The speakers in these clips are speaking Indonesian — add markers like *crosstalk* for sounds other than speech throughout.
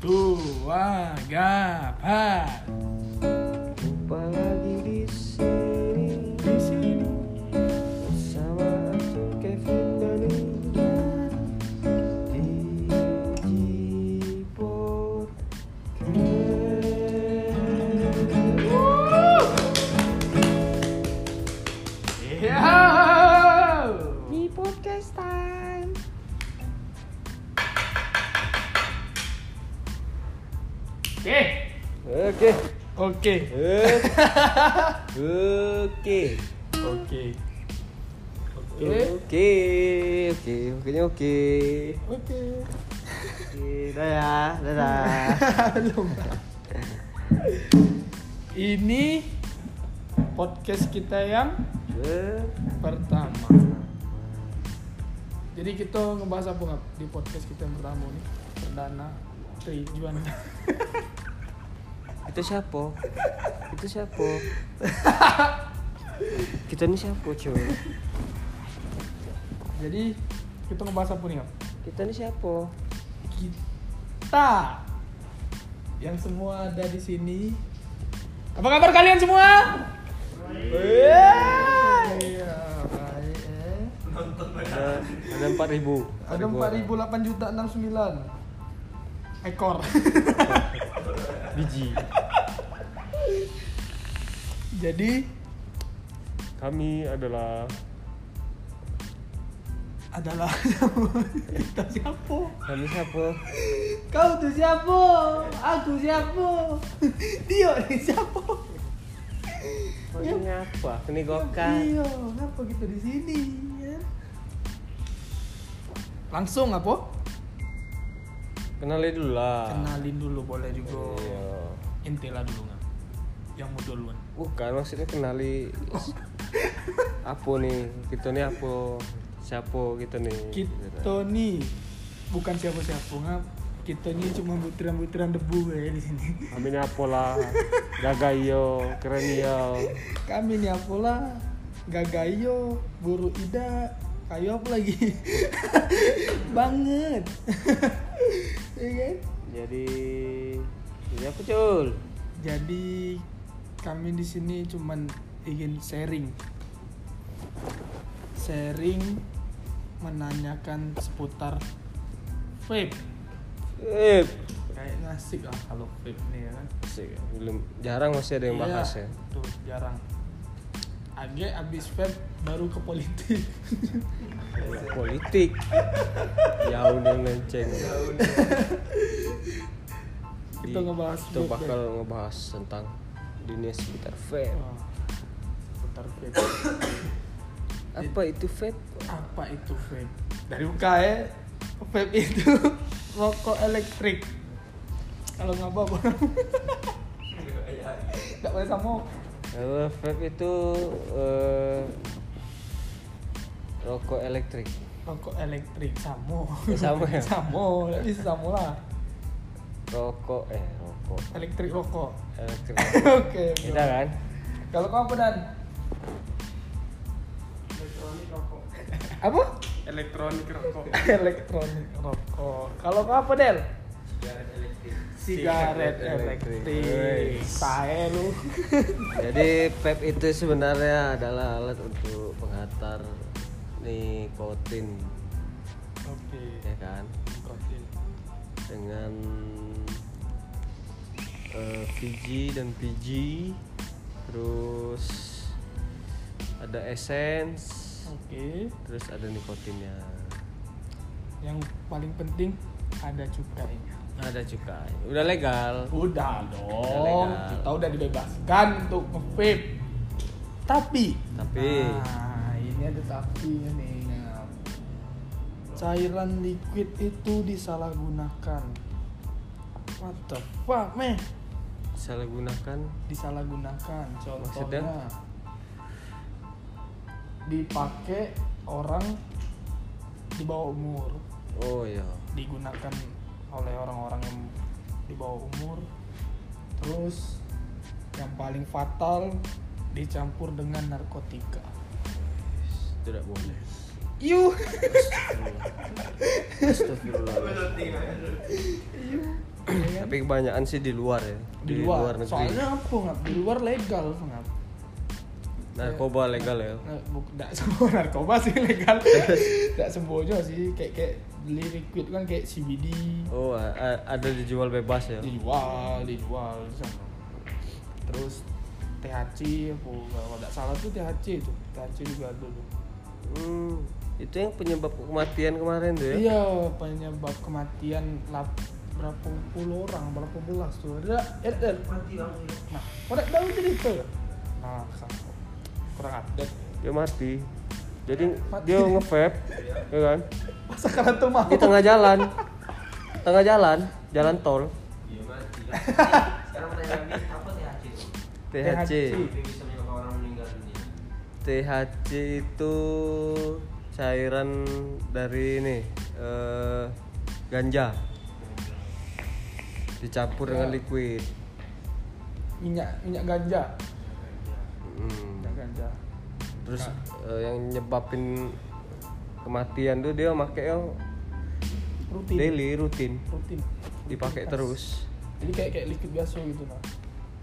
Tua Gapat Jumpa lagi di sini Di sini bersama aku Kevin Danuya di Kipor. Yo! Di podcast time. Oke Oke, Eh, Oke Eh, oke, Oke Oke oke, oke, oke, oke. Oke Oke, dadah, dadah. Belum Ini podcast kita yang Ber- pertama Jadi kita ngebahas apa Ngap, di podcast kita yang pertama nih Perdana Tujuan Itu siapa? Itu siapa? Kita ini siapa, cuy? Jadi kita ngebahas apa nih Ngap? Kita ini siapa? kita yang semua ada di sini. Apa kabar kalian semua? Iya, baik. eh. Ada, ada 4000. Ada 4008 juta 69 ekor. *laughs* biji. Jadi Kami adalah *laughs* adalah kita siapa? kami siapa? Kau tuh siapa? Aku siapa? Dia nih siapa? Ini apa? Ini gokan. Iya, kenapa kita di sini? ya? Langsung apa? Kenalin dulu lah. kenalin dulu boleh juga Ah. Iya. inti lah dulu nggak yang mau duluan Bukan maksudnya kenali apa nih? Kita ini apa? Siapa kita nih? kita nih bukan siapa siapa nggak kita ini cuma butiran butiran debu ya di sini *laughs* Kami ini apa lah? Jaga iyo, keren iyo. kami nih apalah gagayo buru ida kayu apa lagi *laughs* banget *laughs* Iya kan? Jadi jadi apa cul? jadi kami di sini cuman ingin sharing sharing menanyakan seputar vape Eh, kayak ngasih ah kalau vape nih ya kan Asik, belum jarang masih ada yang Iya. bahas ya. tuh jarang Age abis vape baru ke *laughs* politik politik ya udah lenceng Kita ngebahas ya. kita vape, Iya, bakal ngebahas tentang dunia sekitar vape Wah, Oh, seputar vape apa itu vape apa itu vape dari UKE vape itu *laughs* rokok elektrik kalau nggak apa *laughs* nggak boleh sama Eh, vape itu eh, rokok elektrik rokok elektrik samo Eh, samo *laughs* ya? samo nggak bisa samo lah rokok eh rokok elektrik rokok *laughs* elektrik oke beda kan kalau kamu apa dan apa elektronik rokok elektronik rokok kalau kamu apa del sigaret elektrik elektrik. sigaret elektrik tae lu jadi vape itu sebenarnya adalah alat untuk pengantar nikotin oke ya kan dengan eh, VG dan PG terus ada essence oke terus ada nikotinnya yang paling penting ada cukainya ada juga udah legal udah legal. dong kita udah dibebaskan untuk vape tapi Tapi. nah, ini ada tapinya nih Ngap. cairan liquid itu disalahgunakan what the fuck meh salah gunakan disalahgunakan Maksudnya? contohnya dipakai orang di bawah umur oh ya digunakan oleh orang-orang yang di bawah umur terus yang paling fatal dicampur dengan narkotika tidak boleh yuh Astagfirullah. Astagfirullah. ya kan? *coughs* Tapi kebanyakan sih di luar ya. di luar, soalnya apa ngap di luar legal ngap Narkoba legal ya. Nah, buk- nggak semua *laughs* narkoba sih *laughs* legal nggak semua juga sih kayak kayak beli liquid kan kayak CBD Oh, a- a- ada dijual bebas ya. dijual dijual di sana. terus THC apa kalau nggak salah tuh THC itu THC juga ada tuh Hmm, itu yang penyebab kematian kemarin tuh ya. iya penyebab kematian lap, berapa puluh orang berapa belas tuh ada ada mati langsung ya. nah korek tahu cerita nah kurang update Dia mati. Jadi Mati. dia nge-vape, ya kan? masa kalian tuh mau Di tengah *laughs* jalan. Tengah jalan, jalan tol. Iya mati. lah. Sekarang pertanyaan lagi, apa ya, THC. THC. THC itu? Apa yang bisa menyebabkan orang meninggal dunia? THC itu cairan dari ini eh, ganja dicampur dengan liquid. minyak minyak ganja Hmm. minyak ganja Terus eh, yang nyebabin kematian tuh dia pakai rutin daily rutin rutin dipakai Rutinitas. terus. jadi kayak kayak liquid biasa gitu nah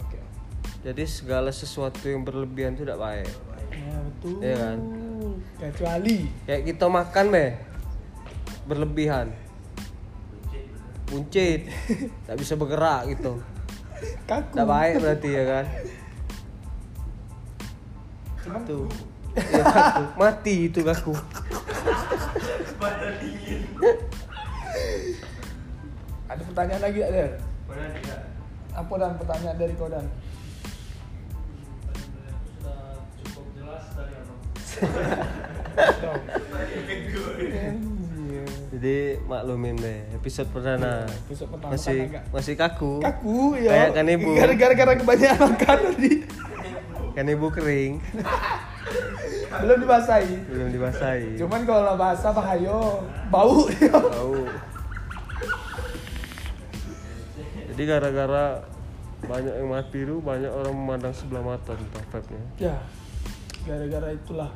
oke Jadi segala sesuatu yang berlebihan tuh tidak baik. nah betul Iya kan? kecuali Kayak kita makan be berlebihan, buncit, tak bisa bergerak gitu. kaku Tidak baik berarti ya kan? cuman Tuh. *laughs* Ya, kaku. Mati itu kaku. Badan dingin. ada pertanyaan lagi gak Der? Badan dia. apa dan pertanyaan dari kau dan Eh, Cukup jelas dari apa? Iya, Anjir. Jadi maklumin deh episode perdana. Iya, Episode pertama masih kan agak- masih kaku. kaku ya Kayak kan ibu. gara-gara gara kebanyakan makan tadi Kan ibu kering, belum dibasahi belum dibasahi. cuman kalau bahasa bahaya bau ya. Tahu. Jadi gara-gara banyak yang mati tuh banyak orang memandang sebelah mata tentang vape-nya. ya gara-gara itulah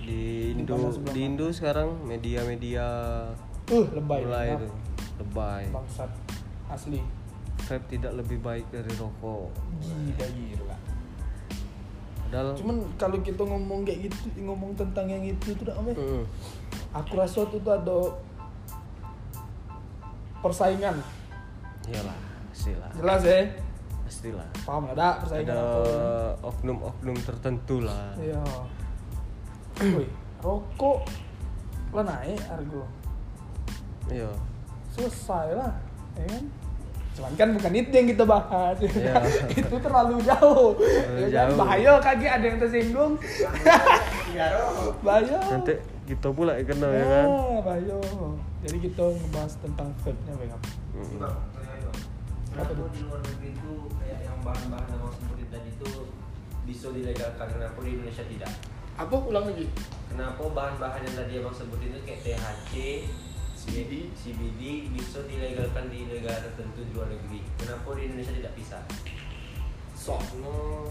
Di Indo, Dipandang sebelah di Indo sekarang media-media uh lebay mulai Maaf. tuh lebay. bangsat asli Vape tidak lebih baik dari rokok. gila gila Padahal cuman kalau kita ngomong kayak gitu ngomong tentang yang itu tuh dah Om, eh. Mm. aku rasa tuh, tuh ada persaingan Iyalah, pastilah. jelas ya Pastilah. paham lah dak persaingan Ada apa. oknum-oknum tertentu lah. Iya. Woi, rokok lah naik argo. Iya. Selesai lah, ya kan? Cuman kan bukan itu yang kita bahas. ya Iya. kan? *laughs* itu terlalu jauh. Terlalu ya kan? jauh. Bahaya kaki ada yang tersinggung. Iya, bahaya. Iya. Nanti kita pula yang kena ya ya, kan. bahaya. Jadi kita ngebahas tentang vape-nya, Bang. Ini, Mm. Bang, tanya, Bang. Apa Kenapa tuh? di luar negeri itu kayak yang bahan-bahan yang langsung seperti tadi itu bisa dilegalkan kenapa di Indonesia tidak? Apa ulang lagi? Kenapa bahan-bahan yang tadi abang sebutin itu kayak THC, CBD, CBD bisa dilegalkan di negara tertentu di luar negeri? Kenapa di Indonesia tidak bisa? Sono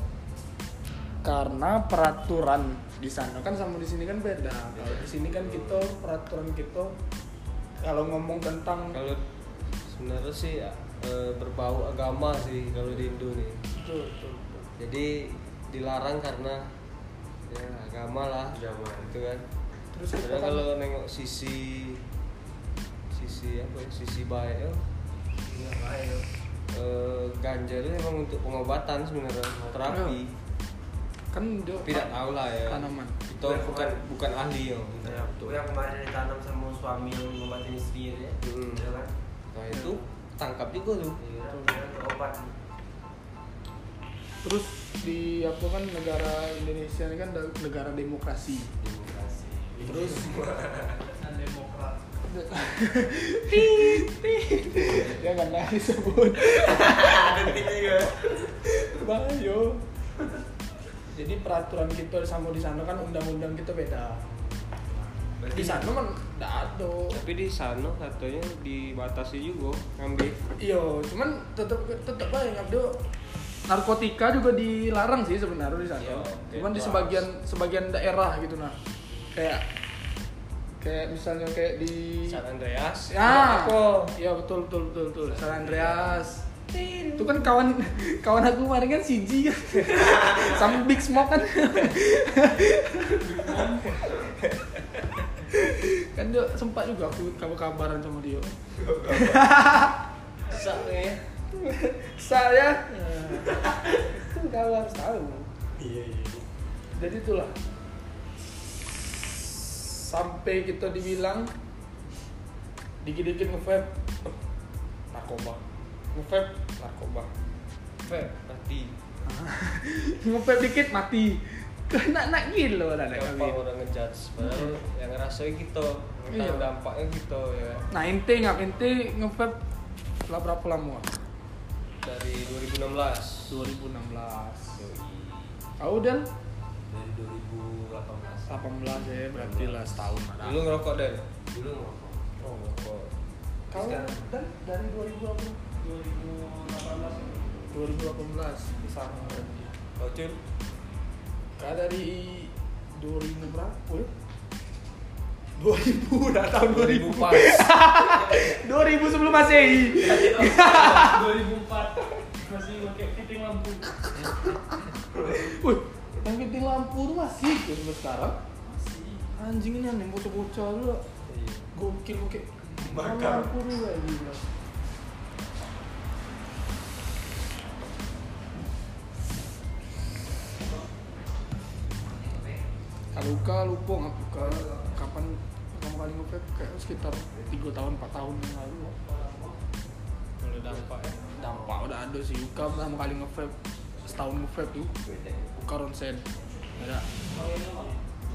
karena peraturan di sana kan sama di sini kan beda. Kalau di sini kan kita peraturan kita kalau ngomong tentang Kalau sebenarnya sih eh, berbau agama sih kalau di Indo nih. itu itu itu. Jadi dilarang karena ya agama lah. Agama. Itu kan. terus kita Sebenarnya kan kalau nengok sisi sisi apa ya, sisi baik ya, Iya, eh, ganja itu emang untuk pengobatan sebenarnya terapi kan dia tapi tidak tahu lah ya Tanaman. kita bukan bukan ahli ya Nah, itu yang kemarin ditanam sama suami yang ngobatin istri ya, Hmm. ya kan? nah itu tangkap juga tuh Iya, itu obat. terus di apa kan negara Indonesia ini kan da- negara demokrasi *laughs* Demokrasi. terus demokrat. *laughs* dia nggak nggak Ya kan, nah disebut juga. bayo jadi peraturan kita sama di sana kan undang-undang kita beda Berarti di sana kan tidak ada tapi di sana katanya dibatasi juga ngambil iya cuman tetap tetap aja ngabdo narkotika juga dilarang sih sebenarnya di sana Iya, cuman di bebas. sebagian sebagian daerah gitu nah kayak kayak misalnya kayak di San Andreas Ah, Monaco. Iya betul betul betul betul. San Andreas. Itu kan kawan *laughs* kawan aku kemarin kan si Ji *laughs* kan. Sama Big Smoke kan. *laughs* kan dia sempat juga aku kabar-kabaran sama *laughs* dia. ya. Sak nih. Saya itu kau ya? Kan harus tahu. Iya iya. Jadi itulah sampai kita dibilang dikit-dikit nge-vape narkoba nge-vape narkoba vape Mati. nge-vape dikit mati *laughs* nak nak gila lah nak Gampang kawin orang ngejudge. Padahal yang ngerasain kita, yang Iya. tahu dampaknya kita ya. kan. nah ente ngap ente nge-vape lah berapa lama Dari 2016. 2016 Yoi. kau dan dari 2018 18 ya berarti lah setahun Dulu ngerokok dan. dulu ngomong Oh ngerokok. kau Sekarang. dan dari 2018 2018 di sana berarti Kau cun? Kak dari 2000 berapa ya? 2000 dah tahun 2000 pas. 2000 sebelum masehi 2004 masih pakai fitting lampu. Wih, yang penting lampu tuh masih tuh sampai sekarang Masih. Anjing ini aneh bocah-bocah dulu Iya. Gokil gokil Bakar. Lampu tuh kayak gila Luka lupa nggak buka kapan pertama kali nge kayak sekitar 3 tahun 4 tahun yang lalu Mulai dampaknya. dampak udah ada sih Luka pertama kali nge setahun nge tuh buka ronsen ada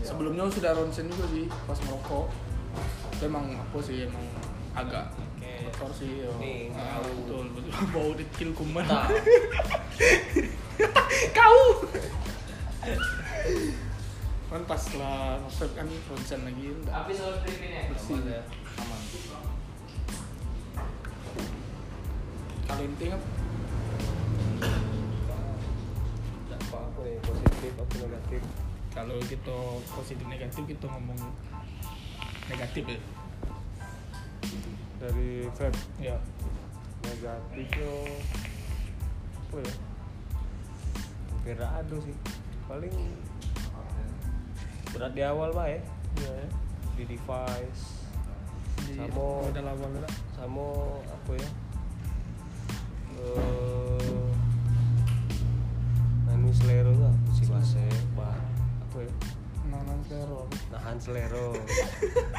sebelumnya sudah ronsen juga sih pas merokok itu emang apa sih emang agak Oke. kotor sih ya. Nih, Ah, bau. betul betul *laughs* bau dekil kuman Nah. *laughs* kau kan pas lah nge kan ronsen lagi nggak habis harus Filipina bersih Aman ya. aman kalau kan? intinya Dampak apa nih? Positif apa negatif? kalau kita positif negatif kita ngomong negatif ya Dari vape ya negatifnya apa ya hampir ada sih paling berat di awal pak ya ya, ya. di device Jadi, Sama. udah lama udah sama apa ya eh anu selero lah apa sih bahasa bah apa ya nanan teror nahan selero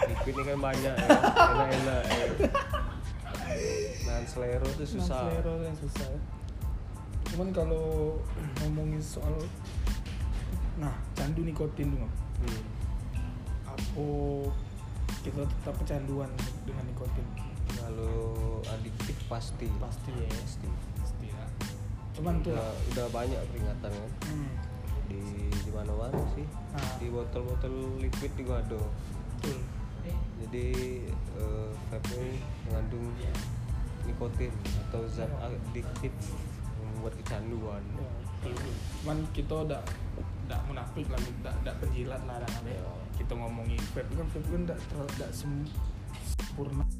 liquid ini kan banyak ya enak-enak ya nahan selero tuh susah teror yang susah ya. cuman kalau ngomongin soal nah candu nikotin dong Hmm. apa kita tetap kecanduan dengan nikotin kalau adiktif pasti Pasti ya. pasti pasti ya cuman tuh udah, udah banyak peringatan kan hmm, di di mana mana sih Ah. di botol-botol liquid juga ada betul jadi eh, vape ini mengandung Iya. Ya. nikotin atau zat Oh. adiktif yang membuat kecanduan Ya, betul, betul. cuman kita udah udah munafik lah udah udah Iya. penjilat lah dan ada. kita ngomongin vape kan vape kan udah ter- udah sem- sempurna